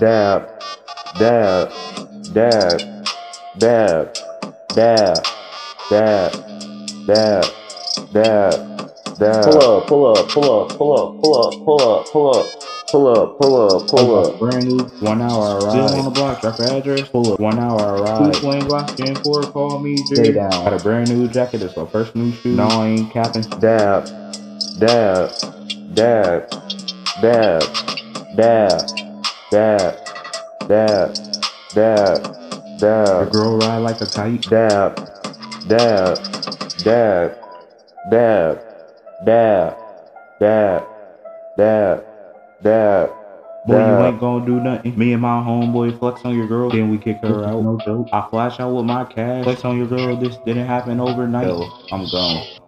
dab, dab, dab, dab, dab, dab, dab, dab, dab. Pull up, pull up, pull up, pull up, pull up, pull up, pull up, pull up, pull up, pull Pull up. up, brand new, one hour ride. Still on the block, drop your address. Pull up, one hour Two ride. swing blocks, Gen 4, call me, Stay G. down. Got a brand new jacket, it's my first new shoe. No, I ain't capping. Dab, dab, dab, dab, dab, dab, dab, dab, The dab. girl ride like a kite. dab, dab, dab, dab, dab, dab, dab, dab, Boy, you ain't dab. gonna do nothing. Me and my homeboy flex on your girl, then we kick her out. No joke. I flash out with my cash, flex on your girl. This didn't happen overnight. Yo, I'm gone.